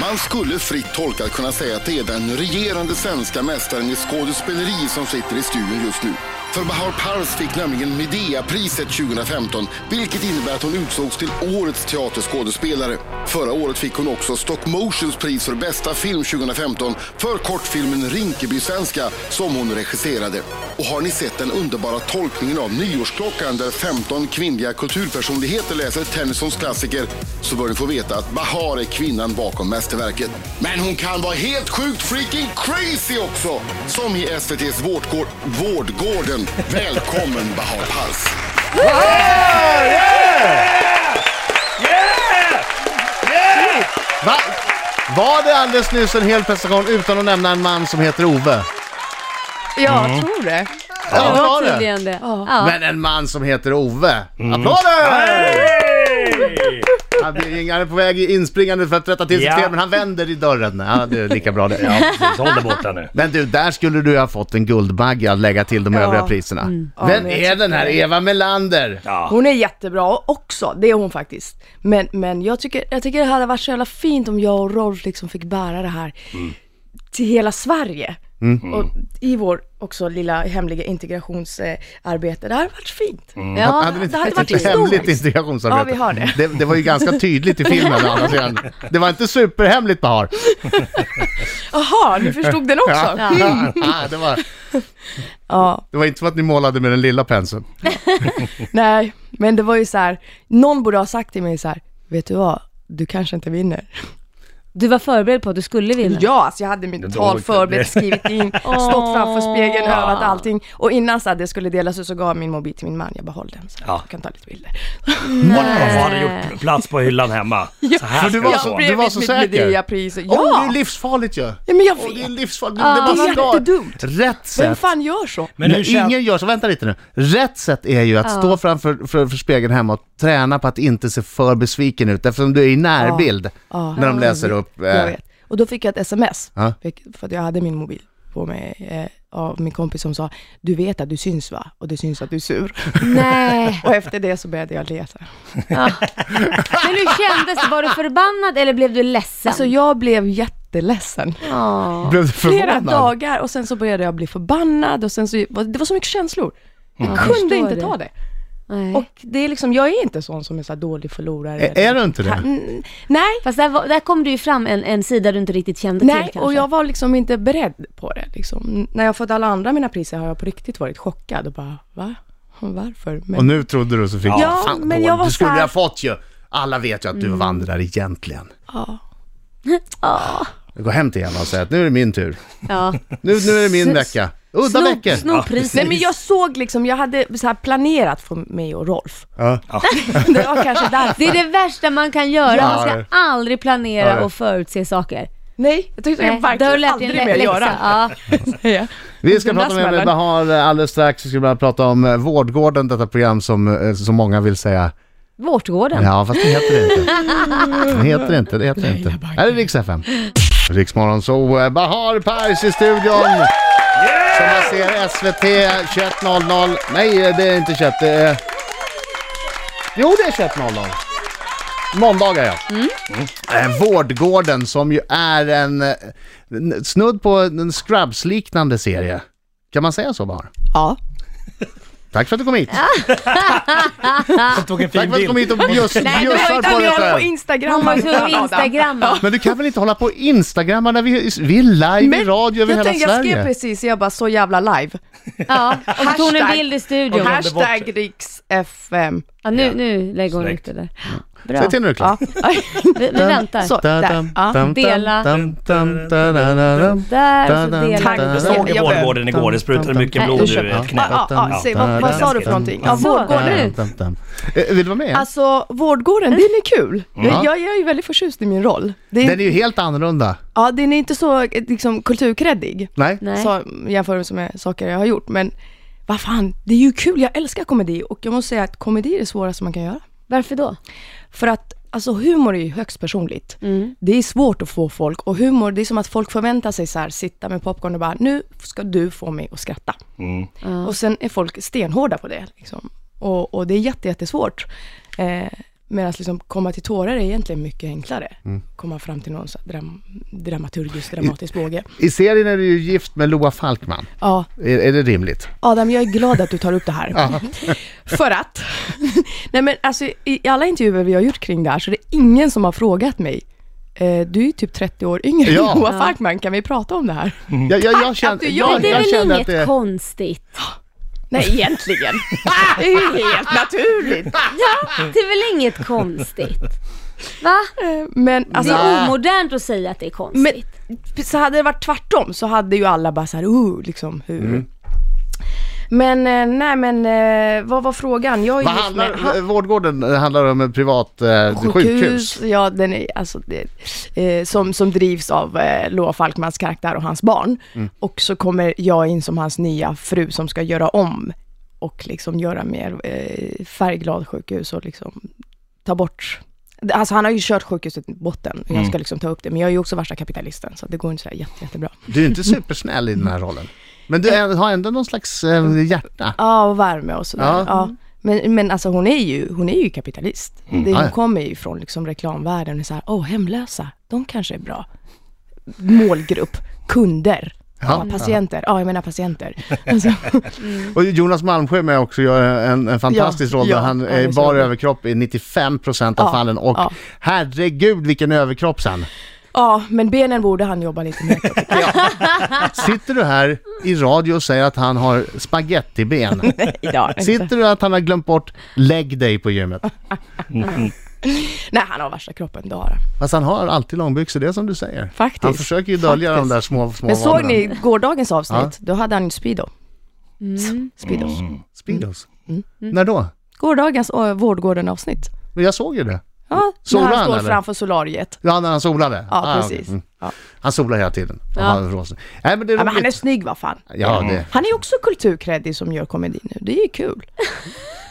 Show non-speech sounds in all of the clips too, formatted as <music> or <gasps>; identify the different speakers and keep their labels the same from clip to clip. Speaker 1: Man skulle fritt tolkat kunna säga att det är den regerande svenska mästaren i skådespeleri som sitter i studion just nu. För Bahar Parz fick nämligen Medea-priset 2015, vilket innebär att hon utsågs till årets teaterskådespelare. Förra året fick hon också Stock Motions pris för bästa film 2015 för kortfilmen Rinkeby-svenska som hon regisserade. Och har ni sett den underbara tolkningen av Nyårsklockan där 15 kvinnliga kulturpersonligheter läser Tennysons klassiker så bör ni få veta att Bahar är kvinnan bakom mästerverket. Men hon kan vara helt sjukt freaking crazy också! Som i SVTs Vårdgård, Vårdgården. Välkommen Bahar Parz!
Speaker 2: Va? Var det alldeles nyss en hel prestation utan att nämna en man som heter Ove?
Speaker 3: Jag
Speaker 4: Mm.
Speaker 3: tror det.
Speaker 2: Ja, det var det.
Speaker 4: tydligen det. Ja.
Speaker 2: Men en man som heter Ove.
Speaker 3: Mm.
Speaker 2: Applåder! Han blir- han är på väg i- inspringande för att rätta till sitt
Speaker 5: Ja.
Speaker 2: fel, men han vänder i dörren. Ja, det är lika bra det.
Speaker 5: Ja, precis. Håll dig borta nu.
Speaker 2: Men du, där skulle du ha fått en guldbagge att lägga till de övriga priserna.
Speaker 3: Mm.
Speaker 2: Vem
Speaker 3: men jag
Speaker 2: är den här Eva Melander?
Speaker 5: Ja.
Speaker 3: Hon är jättebra också, det är hon faktiskt. Men, men jag, tycker, jag tycker det hade varit så jävla fint om jag och Rolf liksom fick bära det här
Speaker 4: Mm.
Speaker 3: till hela Sverige. Och i vår också lilla hemliga integrationsarbete. Det hade varit fint.
Speaker 4: Mm.
Speaker 2: Hade vi inte
Speaker 3: det hade
Speaker 2: ett
Speaker 3: varit
Speaker 2: hemligt
Speaker 3: historiskt.
Speaker 2: integrationsarbete?
Speaker 3: Ja, vi har det.
Speaker 2: det. Det var ju ganska tydligt i filmen å andra sidan. Det var inte superhemligt Bahar.
Speaker 3: Jaha, du förstod
Speaker 4: <laughs>
Speaker 3: den också? Mm.
Speaker 2: Ja. Ja, det, var,
Speaker 3: ja.
Speaker 2: det var inte som att ni målade med den lilla penseln.
Speaker 3: Nej, men det var ju så här. någon borde ha sagt till mig så här. vet du vad? Du kanske inte vinner.
Speaker 4: Du var förberedd på att du skulle vinna.
Speaker 3: Ja, alltså jag hade mitt
Speaker 5: Det
Speaker 3: tal
Speaker 5: dåligt,
Speaker 3: förberett,
Speaker 5: det.
Speaker 2: <laughs>
Speaker 3: skrivit in, stått framför spegeln, övat allting. Och innan så här, det skulle delas ut så gav jag min mobil till min man, jag bara håll den så
Speaker 5: Ja.
Speaker 3: jag kan ta lite bilder.
Speaker 5: Vad hade gjort plats på hyllan hemma? Så här
Speaker 2: För du
Speaker 5: ska
Speaker 2: var
Speaker 5: det
Speaker 3: <laughs>
Speaker 2: så-
Speaker 5: vara.
Speaker 2: du var så säker?
Speaker 3: Pris. Ja,
Speaker 2: Åh, det är livsfarligt ju!
Speaker 3: ja, men jag
Speaker 2: Åh, det är
Speaker 3: vet.
Speaker 2: livsfarligt.
Speaker 4: Ah,
Speaker 2: det
Speaker 3: det är
Speaker 2: var
Speaker 3: jättedumt.
Speaker 2: Rätt
Speaker 3: Vem
Speaker 2: sätt.
Speaker 3: fan gör så?
Speaker 5: Men hur
Speaker 2: Nej,
Speaker 5: känns...
Speaker 2: ingen gör så, vänta lite nu. Rätt sätt är ju att stå framför för, för spegeln hemma och träna på att inte se för besviken ut eftersom du är i närbild
Speaker 3: Ja.
Speaker 2: när de läser upp. eh,
Speaker 3: Jag vet. Och då fick jag ett sms,
Speaker 2: Ja.
Speaker 3: vilket- för att jag hade min mobil på mig, eh, av min kompis som sa Du vet att du syns va? Och det syns att du är sur.
Speaker 4: Nej.
Speaker 3: Och efter det så började jag leta.
Speaker 4: Men hur kändes det? Var du förbannad eller blev du ledsen?
Speaker 3: Alltså jag blev jätteledsen.
Speaker 4: Ja.
Speaker 2: Blev du
Speaker 3: Flera
Speaker 2: förvånad?
Speaker 3: dagar och sen så började jag bli förbannad och sen så, det var så mycket känslor. Jag
Speaker 2: Mm.
Speaker 3: kunde
Speaker 4: förstår
Speaker 3: inte
Speaker 4: det.
Speaker 3: ta det.
Speaker 4: Nej.
Speaker 3: Och det är liksom, jag är inte sån som är så här dålig förlorare.
Speaker 2: Är, är du inte det?
Speaker 3: Mm, nej,
Speaker 4: Fast där, var, där kom du ju fram en, en sida du inte riktigt kände till
Speaker 3: nej
Speaker 4: kanske.
Speaker 3: och
Speaker 4: <laughs>
Speaker 3: jag var liksom inte beredd på det. Liksom. N- När jag fått alla andra mina priser har jag på riktigt varit chockad och bara, va? Varför? Men,
Speaker 2: Och nu trodde du så fick
Speaker 3: Ja, men
Speaker 2: Gordon,
Speaker 3: jag var
Speaker 2: Du skulle
Speaker 3: så här- Mm.
Speaker 2: ha fått ju. Alla vet ju att du vann det där egentligen.
Speaker 3: ja.
Speaker 2: Gå hem till Eva och säg att nu är det min tur.
Speaker 4: Ja.
Speaker 2: Nu, nu är det min vecka. Udda
Speaker 4: Sno,
Speaker 2: veckor.
Speaker 4: sno priset.
Speaker 3: Nej men jag såg liksom, jag hade så här planerat för mig och Rolf.
Speaker 2: Ja.
Speaker 3: <laughs> Det var kanske därför.
Speaker 4: Det är det värsta man kan göra.
Speaker 2: Ja,
Speaker 4: man
Speaker 2: det-
Speaker 4: ska aldrig
Speaker 2: ja,
Speaker 4: planera
Speaker 2: det-
Speaker 4: och förutse saker.
Speaker 3: Nej, jag tyckte jag
Speaker 4: Nej, då har
Speaker 3: verkligen
Speaker 4: du lärt dig en
Speaker 3: aldrig mer
Speaker 4: lä-
Speaker 3: göra.
Speaker 4: läxa. Ja.
Speaker 2: <laughs>
Speaker 3: Ja.
Speaker 2: Vi ska
Speaker 3: Den
Speaker 2: prata
Speaker 3: där
Speaker 2: med, med
Speaker 3: smällen.
Speaker 2: Bahar alldeles strax. Vi ska börja prata om eh, Vårdgården, detta program som, eh, som många vill säga.
Speaker 4: Vårtgården.
Speaker 2: Ja, fast det heter det inte. Det heter det inte, det heter det inte. Här är Rix FM. Riksmorgon så eh, Bahar Pars i studion. Som man ser SVT 21.00. Nej, eh, det är inte 21. Det är... Jo, det är 21.00. Måndagar ja. Eh, Vårdgården som ju är en eh, n- snudd på en Scrubs-liknande serie. Kan man säga så Bahar?
Speaker 3: ja.
Speaker 2: Tack för att du kom hit.
Speaker 5: Jag tog en
Speaker 2: Tack
Speaker 5: fin
Speaker 2: för att du kom
Speaker 5: bild.
Speaker 2: hit och bjuss-
Speaker 4: Nej, du har
Speaker 2: bjussar på dig
Speaker 3: på
Speaker 2: själv.
Speaker 3: Instagram.
Speaker 4: Hon var tvungen att instagramma.
Speaker 2: Men du kan väl inte hålla på och instagramma när vi, vi är live i radio över
Speaker 3: jag
Speaker 2: hela
Speaker 3: tänkte, jag skrev
Speaker 2: Sverige?
Speaker 3: precis, jag bara så jävla live.
Speaker 4: Ja. Och så tog hon en
Speaker 3: Hashtag.
Speaker 4: bild i studion.
Speaker 3: Hashtag riksfm.
Speaker 4: Ja, nu, nu lägger hon
Speaker 5: Snyggt.
Speaker 4: ut det där.
Speaker 2: Säg
Speaker 4: Bra.
Speaker 2: till när du är klar.
Speaker 3: Ja.
Speaker 4: <laughs> Vi, vi väntar.
Speaker 3: Så, där. Ja.
Speaker 4: Dela. Där, så delar
Speaker 3: Tack.
Speaker 4: vi.
Speaker 5: Jag såg i
Speaker 3: Jag behöver-
Speaker 5: Vårdgården igår, det sprutade mycket
Speaker 4: Nej,
Speaker 5: blod
Speaker 4: du
Speaker 5: ur
Speaker 4: köper-
Speaker 5: ett knä.
Speaker 3: Ja, ja, ja, säg, vad, vad sa du för någonting? Ja,
Speaker 4: Så,
Speaker 3: vårdgården.
Speaker 4: nu.
Speaker 2: Eh, Vill du vara med?
Speaker 3: Alltså, vårdgården, den är kul. Jag, jag är ju väldigt förtjust i min roll. Det är,
Speaker 2: Den är ju helt annorlunda.
Speaker 3: ja, den är inte så eh, liksom, kulturkreddig,
Speaker 2: Nej?
Speaker 4: Nej.
Speaker 3: så, jämfört med saker jag har gjort. Men vad fan, det är ju kul. Jag älskar komedi och jag måste säga att komedi är det svåraste man kan göra.
Speaker 4: Varför då?
Speaker 3: För att alltså, humor är ju högst personligt. Det är svårt att få folk och humor, det är som att folk förväntar sig så här, sitta med popcorn och bara, nu ska du få mig att skratta. Och sen är folk stenhårda på det. Liksom. Och, och det är jätte, jättesvårt. Eh, Medan liksom komma till tårar är egentligen mycket enklare. Komma fram till någon så här dram- dramaturgisk, dramatisk båge.
Speaker 2: I serien är du ju gift med Loa Falkman.
Speaker 3: Ja,
Speaker 2: Är, är det rimligt?
Speaker 3: Adam, jag är glad att du tar upp det här. För att, <laughs> nej men alltså i alla intervjuer vi har gjort kring det här så är det ingen som har frågat mig eh, du är ju typ 30 år yngre
Speaker 2: Ja.
Speaker 3: än Moa Falkman, kan vi prata om det här?
Speaker 2: Jag, jag, jag kände,
Speaker 3: du
Speaker 2: jag,
Speaker 3: gjorde
Speaker 4: Men det
Speaker 2: jag
Speaker 4: är väl
Speaker 2: kände
Speaker 4: inget
Speaker 2: att det...
Speaker 4: konstigt?
Speaker 3: Nej, egentligen. <laughs> Det är ju helt naturligt.
Speaker 4: <laughs> Ja, det är väl inget konstigt? Va?
Speaker 3: Men
Speaker 4: Det
Speaker 3: alltså,
Speaker 4: är omodernt att säga att det är
Speaker 3: Men
Speaker 4: konstigt.
Speaker 3: så hade det varit tvärtom så hade ju alla bara så här, uh, liksom hur.
Speaker 2: Mm.
Speaker 3: Men eh, nej men eh, vad var frågan? Jag är
Speaker 2: Vad
Speaker 3: gift
Speaker 2: handlar,
Speaker 3: med- ha-
Speaker 2: vårdgården eh, handlar om ett privat eh, sjukhus.
Speaker 3: Ja, den är, alltså, det, eh, som, som drivs av eh, Loa Falkmans karaktär och hans barn.
Speaker 2: Mm.
Speaker 3: Och så kommer jag in som hans nya fru som ska göra om och liksom göra mer eh, färgglad sjukhus och liksom ta bort Alltså han har ju kört sjukhuset till botten, jag
Speaker 2: Mm.
Speaker 3: ska liksom ta upp det, men jag är ju också värsta kapitalisten så det går inte så här jätte, jättebra.
Speaker 2: Du är inte supersnäll i den här rollen. Men du är, har ändå någon slags eh, hjärta.
Speaker 3: Ja, och värme och sådär.
Speaker 2: Ja.
Speaker 3: Ja. Men, men alltså hon är ju, hon är ju kapitalist. Det,
Speaker 2: Mm. Ja,
Speaker 3: hon
Speaker 2: ja.
Speaker 3: kommer ju från liksom reklamvärlden och så här, åh hemlösa, de kanske är bra. Målgrupp, kunder.
Speaker 2: Ja.
Speaker 3: Ja, patienter, ja jag menar patienter. Alltså, <laughs>
Speaker 2: Och Jonas Malmsjö är med också gör en, en fantastisk
Speaker 3: Ja,
Speaker 2: roll där
Speaker 3: ja,
Speaker 2: han
Speaker 3: ja,
Speaker 2: är
Speaker 3: det är så
Speaker 2: bar
Speaker 3: roligt.
Speaker 2: överkropp i 95% av
Speaker 3: Ja,
Speaker 2: fallen och
Speaker 3: ja.
Speaker 2: herregud vilken överkropp sen.
Speaker 3: ja, men benen borde han jobba lite mer på. <laughs> tycker jag.
Speaker 2: Sitter du här i radio och säger att han har
Speaker 3: <laughs>
Speaker 2: spagettiben?
Speaker 3: Idag.
Speaker 2: Sitter du att han har glömt bort leg day på gymmet?
Speaker 5: Mm,
Speaker 3: Nej, han har värsta kroppen, det har han.
Speaker 2: Fast han har alltid långbyxor, det är som du säger.
Speaker 3: Faktiskt.
Speaker 2: Han försöker ju dölja de
Speaker 3: Faktiskt.
Speaker 2: där små, små
Speaker 3: Men såg
Speaker 2: vanorna.
Speaker 3: ni gårdagens avsnitt? Då hade han ju Speedo. Speedos.
Speaker 2: Mm. Speedos?
Speaker 3: Mm.
Speaker 2: När då?
Speaker 3: Gårdagens eh, Vårdgården-avsnitt.
Speaker 2: Men jag såg ju det.
Speaker 3: Ja, när
Speaker 2: Solade
Speaker 3: han
Speaker 2: han,
Speaker 3: står
Speaker 2: eller?
Speaker 3: framför solariet.
Speaker 2: Ja, när han solade.
Speaker 3: Ja,
Speaker 2: Ah, okej.
Speaker 3: precis.
Speaker 2: Mm.
Speaker 3: Ja.
Speaker 2: Han solar hela tiden. Och har rosen. Nej, men det är
Speaker 3: Ja, men han är
Speaker 2: roligt.
Speaker 3: snygg, vad fan.
Speaker 2: Ja, det.
Speaker 3: Han är också kulturkreddig som gör komedi nu. Det är ju kul.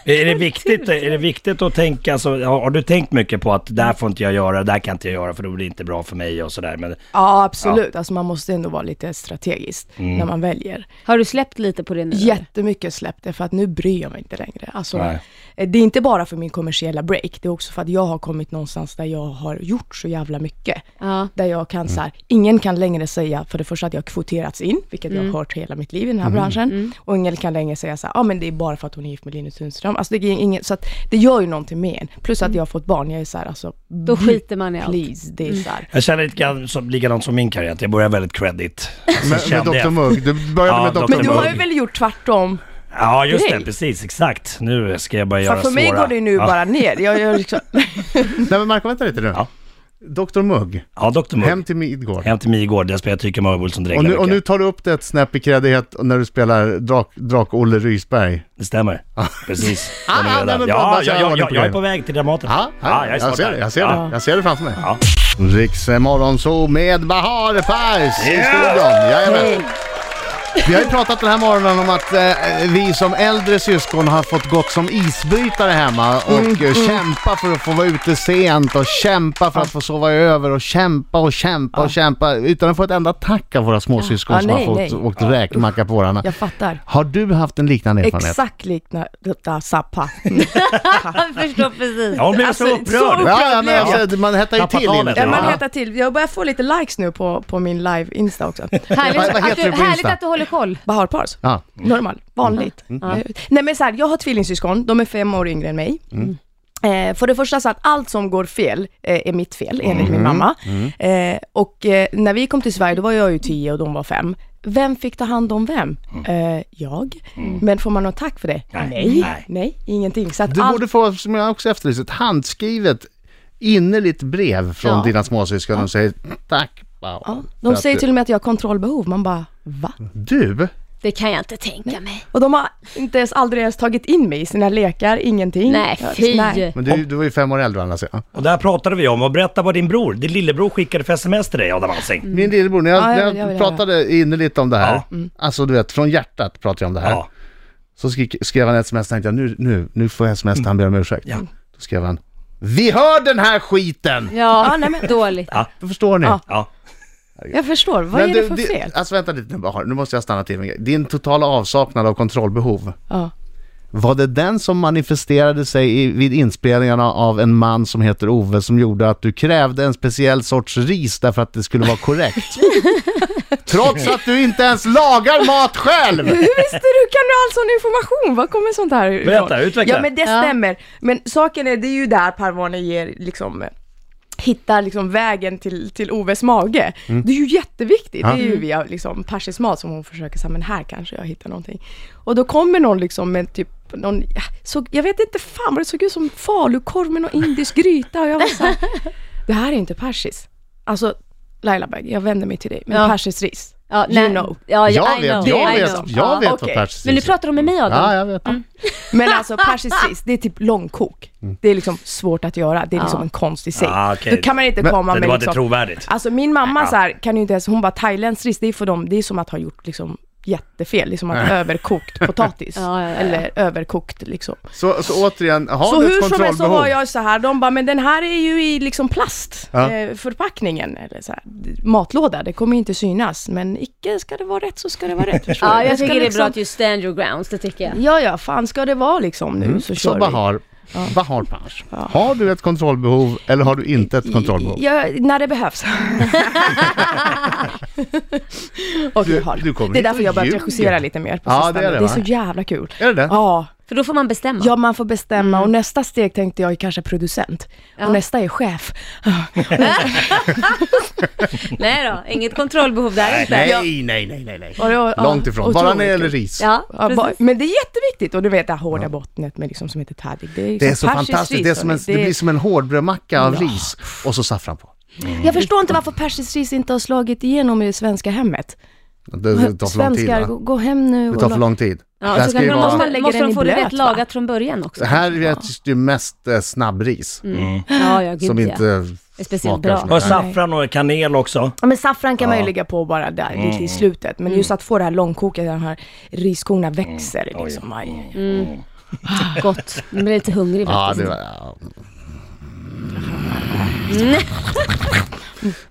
Speaker 5: Är det viktigt, är det viktigt att tänka så, har har du tänkt mycket på att det här får inte jag göra, det här kan inte jag göra för då blir det inte bra för mig och sådär. Men
Speaker 3: Ja, absolut. Mm. Alltså man måste ändå vara lite strategisk när man väljer.
Speaker 4: Har du släppt lite på det nu? eller?
Speaker 3: Jättemycket släppte för att nu bryr jag mig inte längre. Alltså,
Speaker 5: Nej.
Speaker 3: eh, det är inte bara för min kommersiella break, det är också för att jag har kommit någonstans där jag har gjort så jävla mycket.
Speaker 4: Ja.
Speaker 3: Där jag kan så här, ingen kan längre säga för det första att jag har kvoterats in, vilket
Speaker 4: Mm.
Speaker 3: jag har hört hela mitt liv i
Speaker 5: Mm-hmm.
Speaker 3: den här branschen. Och ingen kan längre säga så här, ja ah, men det är bara för att hon är gift med Linus Sundström. Alltså det, är ingen, så att det gör ju någonting med en. Plus att jag har fått barn, jag är så här, alltså,
Speaker 4: Mm. Då skiter man i allt.
Speaker 3: please, det är så här.
Speaker 5: jag känner lite grann som, likadant som min karriär, att jag börjar väldigt credit. Så
Speaker 2: Med,
Speaker 5: kände
Speaker 2: med Dr
Speaker 5: jag.
Speaker 2: Mugg. Du började
Speaker 5: Ja,
Speaker 2: med Dr
Speaker 5: Dr.
Speaker 3: Men du
Speaker 2: Mugg.
Speaker 3: har ju väl gjort tvärtom?
Speaker 5: Ja just det,
Speaker 3: Grej.
Speaker 5: precis, exakt. Nu ska jag börja
Speaker 3: För,
Speaker 5: göra
Speaker 3: för mig
Speaker 5: svåra.
Speaker 3: går det ju nu
Speaker 5: ja.
Speaker 3: bara ner. Jag, jag liksom,
Speaker 5: <laughs>
Speaker 2: Nej men Marco, vänta lite nu.
Speaker 5: Ja.
Speaker 2: Dr Mugg,
Speaker 5: Ja, Dr. Mugg.
Speaker 2: Hem
Speaker 5: Hem,
Speaker 2: till Midgård.
Speaker 5: till Midgård, där jag spelar Tycker Mörbul som
Speaker 2: Och
Speaker 5: dreglar
Speaker 2: nu, och nu
Speaker 5: mycket.
Speaker 2: tar du upp det ett snäpp i kreddighet när du spelar Drak- Drak-Olle Rysberg.
Speaker 5: Det stämmer. Precis.
Speaker 2: Ah,
Speaker 5: Den är
Speaker 2: ah,
Speaker 5: redan-
Speaker 2: nej, men bara-
Speaker 5: ja,
Speaker 2: bara
Speaker 5: jag,
Speaker 2: köra
Speaker 5: jag,
Speaker 2: ordning
Speaker 5: jag,
Speaker 2: på
Speaker 5: jag är
Speaker 2: grejen.
Speaker 5: på väg till Dramaten.
Speaker 2: Ja,
Speaker 5: Ja, jag är
Speaker 2: jag,
Speaker 5: snart
Speaker 2: ser det,
Speaker 5: där.
Speaker 2: jag ser
Speaker 5: Ja.
Speaker 2: det. Jag ser det framför mig.
Speaker 5: Ja.
Speaker 2: Riks morgonzoo med Bahar Pars i
Speaker 5: Yeah!
Speaker 2: studion. Jajamän. Vi har ju pratat den här morgonen om att eh, vi som äldre syskon har fått gått som isbrytare hemma och eh, kämpa för att få vara ute sent och kämpa för att få sova över och kämpa och kämpa och kämpa utan att få ett enda tack av våra småsyskon
Speaker 3: Ja,
Speaker 2: som
Speaker 3: nej,
Speaker 2: har fått
Speaker 3: nej.
Speaker 2: åkt räkmacka på vårarna.
Speaker 3: jag fattar.
Speaker 2: Har du haft en liknande erfarenhet?
Speaker 3: Exakt liknande
Speaker 2: <laughs>
Speaker 3: detta Zappa.
Speaker 4: Jag förstår precis.
Speaker 5: Ja, hon blev så
Speaker 3: Alltså, så
Speaker 5: upprörd.
Speaker 3: upprörd.
Speaker 2: Ja, ja, men
Speaker 3: Ja.
Speaker 2: alltså, man hettar ju
Speaker 5: Tappat
Speaker 2: till inne.
Speaker 5: talet.
Speaker 3: Ja, man
Speaker 5: Ja.
Speaker 3: heter till. Jag börjar få lite likes nu på, på min live Insta också.
Speaker 4: Härligt,
Speaker 2: Vad- vad heter
Speaker 4: att,
Speaker 2: du
Speaker 4: du,
Speaker 2: på
Speaker 4: härligt
Speaker 2: Insta?
Speaker 4: att du håller koll.
Speaker 3: Bahar Pars.
Speaker 2: Ja. Mm.
Speaker 3: Normal, vanligt. Eh, Nej men så här, jag har tvillingsyskon, de är fem år yngre än mig.
Speaker 2: Mm.
Speaker 3: Eh, för det första så att allt som går fel eh, är mitt fel, enligt
Speaker 2: Mm.
Speaker 3: min mamma. Eh, och eh, när vi kom till Sverige, då var jag ju tio och de var fem. Vem fick ta hand om vem?
Speaker 2: Mm.
Speaker 3: Eh, jag. Men får man något tack för det?
Speaker 5: Nej.
Speaker 3: Nej,
Speaker 5: Nej.
Speaker 3: nej, ingenting. Så att
Speaker 2: Du
Speaker 3: allt-
Speaker 2: borde få, som jag också efterlyser, ett handskrivet innerligt brev från
Speaker 4: Ja.
Speaker 2: dina småsyskon. De säger tack Bao.
Speaker 3: Ja,
Speaker 2: för
Speaker 3: de
Speaker 2: att
Speaker 3: säger
Speaker 2: du-
Speaker 3: till och med att jag har kontrollbehov. Man bara, va?
Speaker 2: Du?
Speaker 4: Det kan jag inte tänka mig.
Speaker 3: Och de har inte ens, aldrig ens tagit in mig i sina lekar, ingenting.
Speaker 4: Nej,
Speaker 3: Jag-
Speaker 4: fy.
Speaker 3: nej.
Speaker 2: Men du, du var ju fem år äldre å andra sidan.
Speaker 5: Och där pratade vi om, och berätta vad din bror, din lillebror skickade för sms till dig Adam Alsing.
Speaker 2: Min lillebror, när jag,
Speaker 3: Ja, jag
Speaker 2: när
Speaker 3: vill- jag
Speaker 2: jag
Speaker 3: vill Mm.
Speaker 2: pratade innerligt om det här,
Speaker 5: Ja.
Speaker 2: alltså du vet, från hjärtat pratade jag om det här.
Speaker 5: Ja.
Speaker 2: Så skri- skrev han ett sms, tänkte jag nu, nu, nu får jag sms där han ber om ursäkt.
Speaker 5: Ja.
Speaker 2: Då skrev han, vi hör den här skiten!
Speaker 4: Ja, nej, men. <laughs> dåligt.
Speaker 2: Då förstår ni.
Speaker 3: Ja.
Speaker 5: Ja.
Speaker 3: Jag förstår,
Speaker 2: Men
Speaker 3: vad är
Speaker 2: du,
Speaker 3: det för
Speaker 2: det-
Speaker 3: fel?
Speaker 2: Alltså vänta lite nu bara, nu måste jag stanna till. med en grej. Din totala avsaknad av kontrollbehov.
Speaker 3: Ja.
Speaker 2: Var det den som manifesterade sig i, vid inspelningarna av en man som heter Ove som gjorde att du krävde en speciell sorts ris därför att det skulle vara korrekt? Trots att du inte ens lagar mat själv!
Speaker 3: <laughs> Hur visste du? Kan du all sån information? Var kommer sånt här ifrån?
Speaker 5: Berätta, utveckla.
Speaker 3: Ja men det
Speaker 4: Ja.
Speaker 3: stämmer. Men saken är, det är ju där Parvane ger liksom eh, hittar liksom vägen till, till Oves mage.
Speaker 5: Mm.
Speaker 3: Det är ju jätteviktigt. Det är ju via liksom Persis mat som hon försöker säga, men här kanske jag hittar någonting. Och då kommer någon liksom med typ någon, ja, såg, jag vet inte fan vad det såg ut som falukorv med någon indisk gryta och jag var såhär, det här är inte persis. Alltså Laila Bagge, jag vänder mig till dig, men
Speaker 4: Ja.
Speaker 3: persis ris,
Speaker 4: Ja,
Speaker 3: you
Speaker 4: nej.
Speaker 3: know.
Speaker 4: Ja,
Speaker 2: Jag
Speaker 4: I
Speaker 2: vet,
Speaker 4: know,
Speaker 2: jag
Speaker 4: I
Speaker 2: vet,
Speaker 4: know.
Speaker 2: jag vet vad
Speaker 3: okej.
Speaker 2: persis
Speaker 4: Men nu
Speaker 2: är.
Speaker 4: pratar du med mig Adam.
Speaker 2: Ja, jag vet.
Speaker 3: Men alltså persisk ris, det är typ långkok.
Speaker 2: Mm.
Speaker 3: Det är liksom svårt att göra, det är liksom
Speaker 4: Ja.
Speaker 3: en konst i sig.
Speaker 5: Ah, okej.
Speaker 3: Då kan man inte
Speaker 2: Men-
Speaker 5: Det
Speaker 3: komma
Speaker 5: var
Speaker 3: med
Speaker 5: inte
Speaker 3: liksom...
Speaker 5: trovärdigt.
Speaker 3: Alltså min mamma så här, kan ju inte ens, hon bara thailändsk ris, det är för dem, det är som att ha gjort liksom jättefel, det är som att ha
Speaker 2: <laughs>
Speaker 3: överkokt potatis.
Speaker 4: Ja, ja, ja.
Speaker 3: Eller överkokt liksom.
Speaker 2: Så, så återigen, har
Speaker 3: Så
Speaker 2: du ett
Speaker 3: hur som helst så
Speaker 2: kontrollbehov?
Speaker 3: har jag så här, de bara, men den här är ju i liksom
Speaker 2: Ja.
Speaker 3: plastförpackningen, eh, förpackningen, eller så här, matlåda, det kommer ju inte synas, men icke ska det vara rätt så ska det vara rätt. förstår
Speaker 4: <laughs> Ja,
Speaker 3: du?
Speaker 4: jag
Speaker 3: ska
Speaker 4: tycker det är
Speaker 3: liksom-
Speaker 4: bra att du stand your grounds, det tycker jag.
Speaker 3: Ja, ja, fan ska det vara liksom nu så kör
Speaker 2: Så
Speaker 3: vi.
Speaker 2: Bahar, Bahar Pansh, har du ett kontrollbehov eller har du inte ett kontrollbehov?
Speaker 3: Ja, när
Speaker 2: <laughs>
Speaker 3: det behövs. <laughs> Och
Speaker 2: Du-
Speaker 3: jag har.
Speaker 2: du kommer
Speaker 3: det är
Speaker 2: hit
Speaker 3: därför
Speaker 2: och
Speaker 3: jag börjat
Speaker 2: ljuger.
Speaker 3: regissera lite mer på
Speaker 2: Ja,
Speaker 3: sistone.
Speaker 2: det är det, va?
Speaker 3: så jävla kul.
Speaker 2: Är det Mm. det?
Speaker 3: Ja,
Speaker 4: För då får man bestämma.
Speaker 3: ja, man får bestämma och nästa steg tänkte jag är kanske producent. Och nästa är chef.
Speaker 4: Nej då, inget kontrollbehov där inte.
Speaker 2: Nej, nej, nej, nej, nej.
Speaker 3: Och det var- ja,
Speaker 2: Långt ifrån, bara när det
Speaker 3: otroligt
Speaker 2: gäller
Speaker 3: kul.
Speaker 2: ris.
Speaker 4: Ja,
Speaker 3: Ja,
Speaker 4: precis.
Speaker 3: ba- men det är jätteviktigt och du vet det här hårda bottnet med liksom som heter taddik. Det är, ju
Speaker 2: Det är så
Speaker 4: Liksom
Speaker 3: som persisk
Speaker 2: fantastiskt,
Speaker 3: ris,
Speaker 2: det, är som en,
Speaker 3: hörni.
Speaker 2: det blir som en hårdbrödmacka av ris och så saffran på.
Speaker 3: Jag förstår inte varför persiskt ris inte har slagit igenom i det svenska hemmet.
Speaker 2: Det, det tar för lång tid
Speaker 3: Svenskar, gå,
Speaker 2: va?
Speaker 3: gå hem nu
Speaker 2: Det tar
Speaker 3: la-
Speaker 2: för lång tid.
Speaker 4: Ja,
Speaker 2: det här
Speaker 4: så
Speaker 2: ska ju
Speaker 4: kanske de
Speaker 2: vara... Mm.
Speaker 3: man-
Speaker 4: måste,
Speaker 3: lägger
Speaker 4: måste
Speaker 3: den
Speaker 4: de
Speaker 3: i
Speaker 4: få det
Speaker 3: blöt,
Speaker 4: rätt
Speaker 3: va?
Speaker 4: lagat från början också.
Speaker 2: Det här är ju mest eh, snabbris
Speaker 4: Ja, ja, Mm, gud
Speaker 2: som
Speaker 4: ja.
Speaker 2: inte
Speaker 4: är
Speaker 2: smakar
Speaker 4: speciellt bra.
Speaker 2: så
Speaker 5: Och
Speaker 2: mycket.
Speaker 5: saffran och kanel också.
Speaker 3: Ja, men saffran kan man ju lägga på bara där lite
Speaker 2: Mm.
Speaker 3: i slutet. Men just att få det här långkoket, där de här riskorna
Speaker 2: Mm.
Speaker 3: växer liksom. Aj, aj, aj.
Speaker 4: Gott. Man blir lite hungrig
Speaker 2: Ja,
Speaker 4: faktiskt.
Speaker 2: det var... Ja.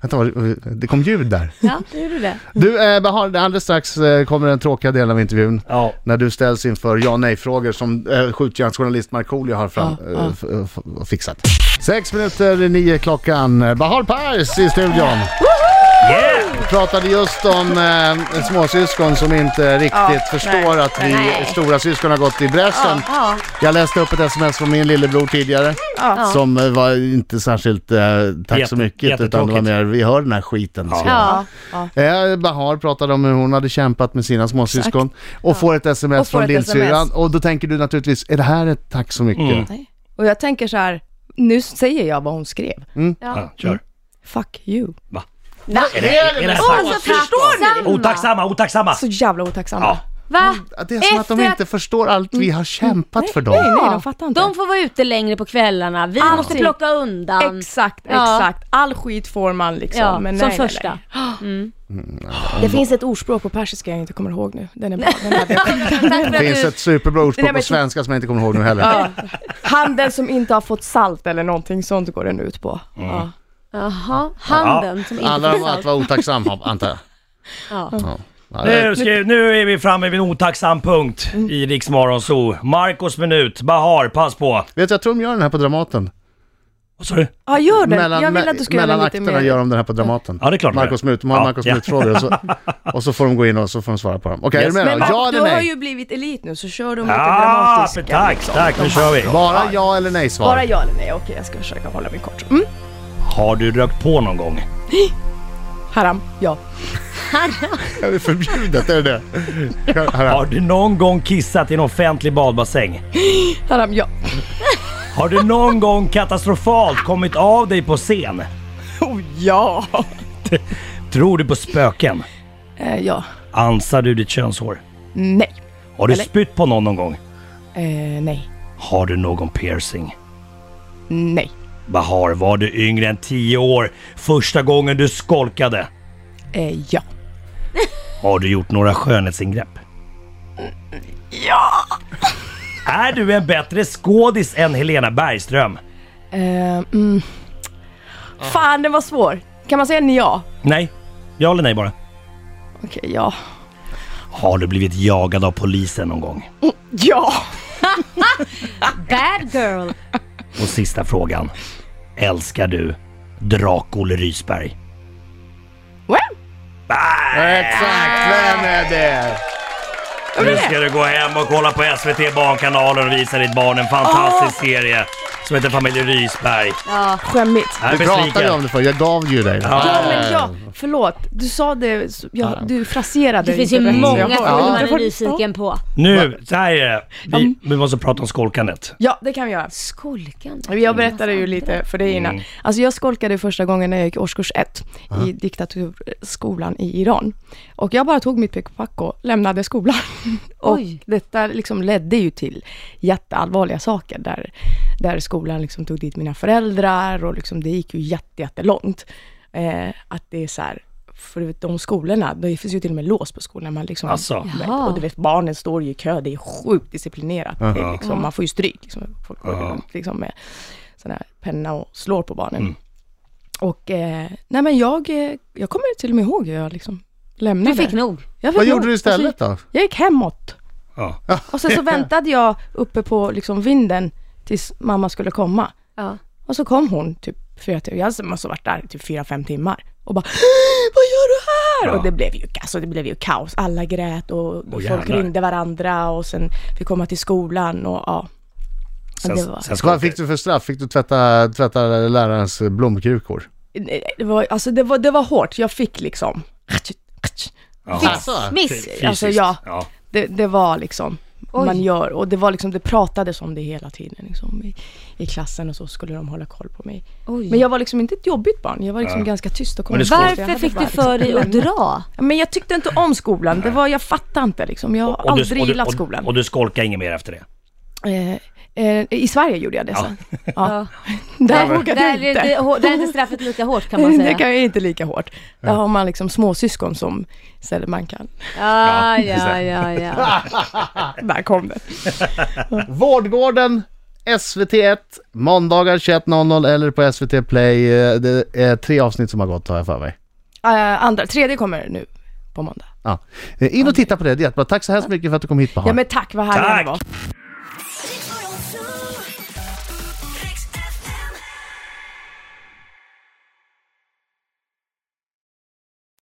Speaker 2: Vänta, vad- det kom ljud där.
Speaker 4: Ja, det gjorde det.
Speaker 2: Du, eh, Bahar, alldeles strax eh, kommer den tråkiga delen av intervjun.
Speaker 5: Ja.
Speaker 2: När du ställs inför ja nej-frågor som eh, skjutjärnsjournalist Markoolio har fram,
Speaker 3: Ja,
Speaker 2: eh,
Speaker 3: ja.
Speaker 2: f- f- f- fixat. Sex minuter i nio klockan. Bahar Pars i studion.
Speaker 5: Yeah!
Speaker 2: Vi pratade just om eh, småsyskon som inte riktigt förstår att vi
Speaker 4: Nej.
Speaker 2: stora syskon har gått i bräschen.
Speaker 4: Ja.
Speaker 2: Jag läste upp ett sms från min lillebror tidigare som eh, var inte särskilt eh, tack
Speaker 5: Jätte-
Speaker 2: så mycket utan det var
Speaker 5: jättetråkigt.
Speaker 2: mer vi hör den här skiten. skrev han.
Speaker 4: Ja.
Speaker 2: Eh, Bahar pratade om hur hon hade kämpat med sina småsyskon och får ett sms
Speaker 3: Och får
Speaker 2: från
Speaker 3: ett
Speaker 2: lillsyrran
Speaker 3: SMS.
Speaker 2: och då tänker du naturligtvis, är det här ett tack så mycket?
Speaker 5: Mm.
Speaker 3: Nej. Och jag tänker så här, nu säger jag vad hon skrev.
Speaker 5: Ja, kör.
Speaker 3: Fuck you.
Speaker 5: Är det, är det, är det
Speaker 4: Åh, så
Speaker 5: sant?
Speaker 4: förstår ni?
Speaker 5: Otacksamma, otacksamma!
Speaker 3: Så jävla otacksamma.
Speaker 5: Ja.
Speaker 4: Va?
Speaker 2: Att Det är som att de
Speaker 4: Efter
Speaker 2: inte förstår allt vi har kämpat för dem.
Speaker 3: Nej, nej, de fattar inte.
Speaker 4: De får vara ute längre på kvällarna. Vi måste
Speaker 3: Alltid.
Speaker 4: plocka undan.
Speaker 3: Exakt,
Speaker 4: Ja.
Speaker 3: exakt. All skit får man liksom.
Speaker 4: Ja,
Speaker 3: men
Speaker 4: som
Speaker 3: nej, nej,
Speaker 4: första.
Speaker 3: <gasps> Nej, Mm. Det finns ett ordspråk på persiska jag inte kommer ihåg nu. Den är bra. <laughs> Den är
Speaker 4: Tack för
Speaker 2: Det finns
Speaker 4: att
Speaker 2: ett superbra
Speaker 3: Det där
Speaker 2: ordspråk på
Speaker 3: med-
Speaker 2: svenska som jag inte kommer ihåg nu heller.
Speaker 3: Handen som inte har fått salt eller någonting sånt går den ut på.
Speaker 2: Mm.
Speaker 3: Ja.
Speaker 4: du... Jaha, handen som inte
Speaker 2: Alla
Speaker 4: Alla
Speaker 2: de att vara otacksam antar jag.
Speaker 4: Ja.
Speaker 2: Ja. Ja, det-
Speaker 5: Nu, ska, nu är vi framme vid en otacksam punkt i Riks Zoo. Marcos minut, Bahar, pass på.
Speaker 2: Vet du, jag tror de gör den här på Dramaten.
Speaker 5: Vad sa du?
Speaker 3: ja, gör den.
Speaker 2: mellan
Speaker 3: jag vill att du ska göra
Speaker 2: mellan
Speaker 3: den lite
Speaker 2: akterna
Speaker 3: mer.
Speaker 2: gör de den här på Dramaten.
Speaker 5: Ja, det är klart de
Speaker 2: Marcos
Speaker 5: gör.
Speaker 2: Mut, de har
Speaker 5: Ja,
Speaker 2: Marcos
Speaker 5: ja.
Speaker 2: Mut-frågor
Speaker 5: <laughs>
Speaker 2: och, så- och så får de gå in och så får de svara på dem. Okej,
Speaker 5: Yes.
Speaker 2: är du med
Speaker 3: Men
Speaker 2: då? Ja
Speaker 3: Mark,
Speaker 2: eller
Speaker 3: du har
Speaker 2: nej?
Speaker 3: ju blivit elit nu så kör de lite
Speaker 5: Ah,
Speaker 3: dramatiska. liksom.
Speaker 5: för tack, tack, nu kör vi.
Speaker 2: Bara ja eller nej svar.
Speaker 3: Bara ja eller nej, okej jag ska försöka hålla mig kort. Mm.
Speaker 5: Har du rökt på någon gång?
Speaker 3: Haram, ja.
Speaker 2: Är det förbjudet? Är det det? Hör- hör här.
Speaker 5: Har du någon gång kissat i en offentlig badbassäng?
Speaker 3: Haram, ja. <laughs>
Speaker 5: Har du någon gång katastrofalt kommit av dig på scen?
Speaker 3: Oh ja!
Speaker 5: Tror du på spöken?
Speaker 3: Eh, ja.
Speaker 5: Ansar du ditt könshår?
Speaker 3: Nej.
Speaker 5: Har du
Speaker 3: Eller-
Speaker 5: spytt på någon någon gång?
Speaker 3: Eh, nej.
Speaker 5: Har du någon piercing?
Speaker 3: Nej.
Speaker 5: Bahar, var du yngre än 10 år första gången du skolkade?
Speaker 3: Eh, ja.
Speaker 5: Har du gjort några skönhetsingrepp? Ja! Är du en bättre skådis än Helena Bergström?
Speaker 3: Eh, mm. Fan, den var svår. Kan man säga en ja?
Speaker 5: Nej. Ja eller nej bara.
Speaker 3: Okej, ja.
Speaker 5: Har du blivit jagad av polisen någon gång?
Speaker 3: Ja!
Speaker 4: Bad girl.
Speaker 5: Och sista frågan. Älskar du Drak-Olle Rysberg?
Speaker 3: Well,
Speaker 2: Exakt, vem är det?
Speaker 5: Nu ska du gå hem och kolla på SVT Barnkanalen och visa ditt barn en fantastisk serie som heter Familjen Rysberg.
Speaker 3: skämmigt.
Speaker 5: Jag är
Speaker 2: Du
Speaker 5: besviken.
Speaker 2: pratade ju om det för jag gav ju dig det.
Speaker 3: Ja, men ja, förlåt. Du sa det, så- ja, du fraserade
Speaker 4: Det finns
Speaker 3: inte
Speaker 4: ju
Speaker 3: rätt, så
Speaker 4: många
Speaker 3: jag
Speaker 4: filmer
Speaker 3: bara-
Speaker 4: man är
Speaker 3: Ja.
Speaker 4: nyfiken på.
Speaker 5: Nu, så här är det. Vi, vi måste prata om skolkandet.
Speaker 3: Ja, det kan vi göra.
Speaker 4: Skolkande.
Speaker 3: Jag berättade ju lite för dig innan. Alltså jag skolkade första gången när jag gick årskurs ett i diktaturskolan i Iran. Och jag bara tog mitt pick och pack och lämnade skolan. <laughs> och
Speaker 4: Oj.
Speaker 3: detta liksom ledde ju till jätteallvarliga saker där, där skolan liksom tog dit mina föräldrar och liksom det gick ju jätte, jättelångt. Eh, att det är så här, för du vet, de skolorna, det finns ju till och med lås på skolorna. Man liksom,
Speaker 5: Alltså.
Speaker 4: Jaha.
Speaker 3: och du vet, barnen står ju i kö, det är sjukt disciplinerat. Det är liksom, man får ju stryk. Liksom. Folk går runt liksom, med sån här penna och slår på barnen.
Speaker 2: Mm.
Speaker 3: Och eh, nej men jag, eh, jag kommer till och med ihåg hur jag liksom lämnade.
Speaker 4: Du fick
Speaker 3: Jag
Speaker 4: nog.
Speaker 3: fick
Speaker 2: Vad
Speaker 3: nog. Alltså,
Speaker 2: gjorde du istället då?
Speaker 3: Jag gick
Speaker 4: <laughs>
Speaker 3: hemåt.
Speaker 5: Ja.
Speaker 3: Och sen så väntade jag uppe på liksom, vinden tills mamma skulle komma.
Speaker 4: Ja.
Speaker 3: Och så kom hon typ fyra timmar, jag måste ha varit där typ fyra, fem timmar och bara <gasps> Vad gör du här?
Speaker 5: Ja.
Speaker 3: Och det blev, ju, alltså, det blev ju kaos, alla grät och, och folk
Speaker 5: jävlar.
Speaker 3: ringde varandra och sen fick komma till skolan och ja.
Speaker 5: Sen,
Speaker 3: Det var-
Speaker 5: sen
Speaker 2: Vad fick du för straff? Fick du tvätta, tvätta lärarens blomkrukor?
Speaker 3: Det var, alltså, det var, det var hårt, jag fick liksom
Speaker 5: Ja.
Speaker 2: Alltså.
Speaker 4: Miss.
Speaker 3: Alltså,
Speaker 5: Fysiskt.
Speaker 3: ja.
Speaker 5: ja.
Speaker 3: det, det var liksom
Speaker 4: Oj.
Speaker 3: man gör och det var liksom, det pratades om det hela tiden liksom, i, i klassen och så skulle de hålla koll på mig.
Speaker 4: Oj.
Speaker 3: Men jag var liksom inte ett jobbigt barn, jag var liksom ganska tyst och
Speaker 5: Men det
Speaker 3: kom
Speaker 5: är skoj.
Speaker 4: Varför fick du för dig att dra?
Speaker 3: liksom- Men jag tyckte inte om skolan. Det var, jag fattade inte liksom. Jag har aldrig gillat skolan.
Speaker 5: Och, och du skolkade inget mer efter det?
Speaker 3: eh, eh, I Sverige gjorde jag det
Speaker 5: <laughs>
Speaker 3: sen. Ja. Där vågade
Speaker 4: Där
Speaker 3: jag
Speaker 4: är, inte,
Speaker 3: inte.
Speaker 4: hå- där är inte straffet lika hårt <laughs> kan
Speaker 3: <laughs>
Speaker 4: man
Speaker 3: Det
Speaker 4: säga.
Speaker 3: kan jag inte lika hårt. Där har man liksom småsyskon som istället man kan.
Speaker 4: Ja,
Speaker 5: Ja,
Speaker 4: ja, ja, ja.
Speaker 3: Där kom det.
Speaker 2: Vårdgården, SVT1, måndagar 21.00 eller på SVT Play. Eh, Det är tre avsnitt som har gått har jag för mig.
Speaker 3: Eh, andra, tredje kommer nu på måndag.
Speaker 2: Ja. Eh, In och titta på det, det är jättebra. Tack så hemskt mycket för att du kom hit Bahar.
Speaker 3: Ja men tack, vad härlig han
Speaker 5: Tack.
Speaker 3: var.
Speaker 6: Rick 102.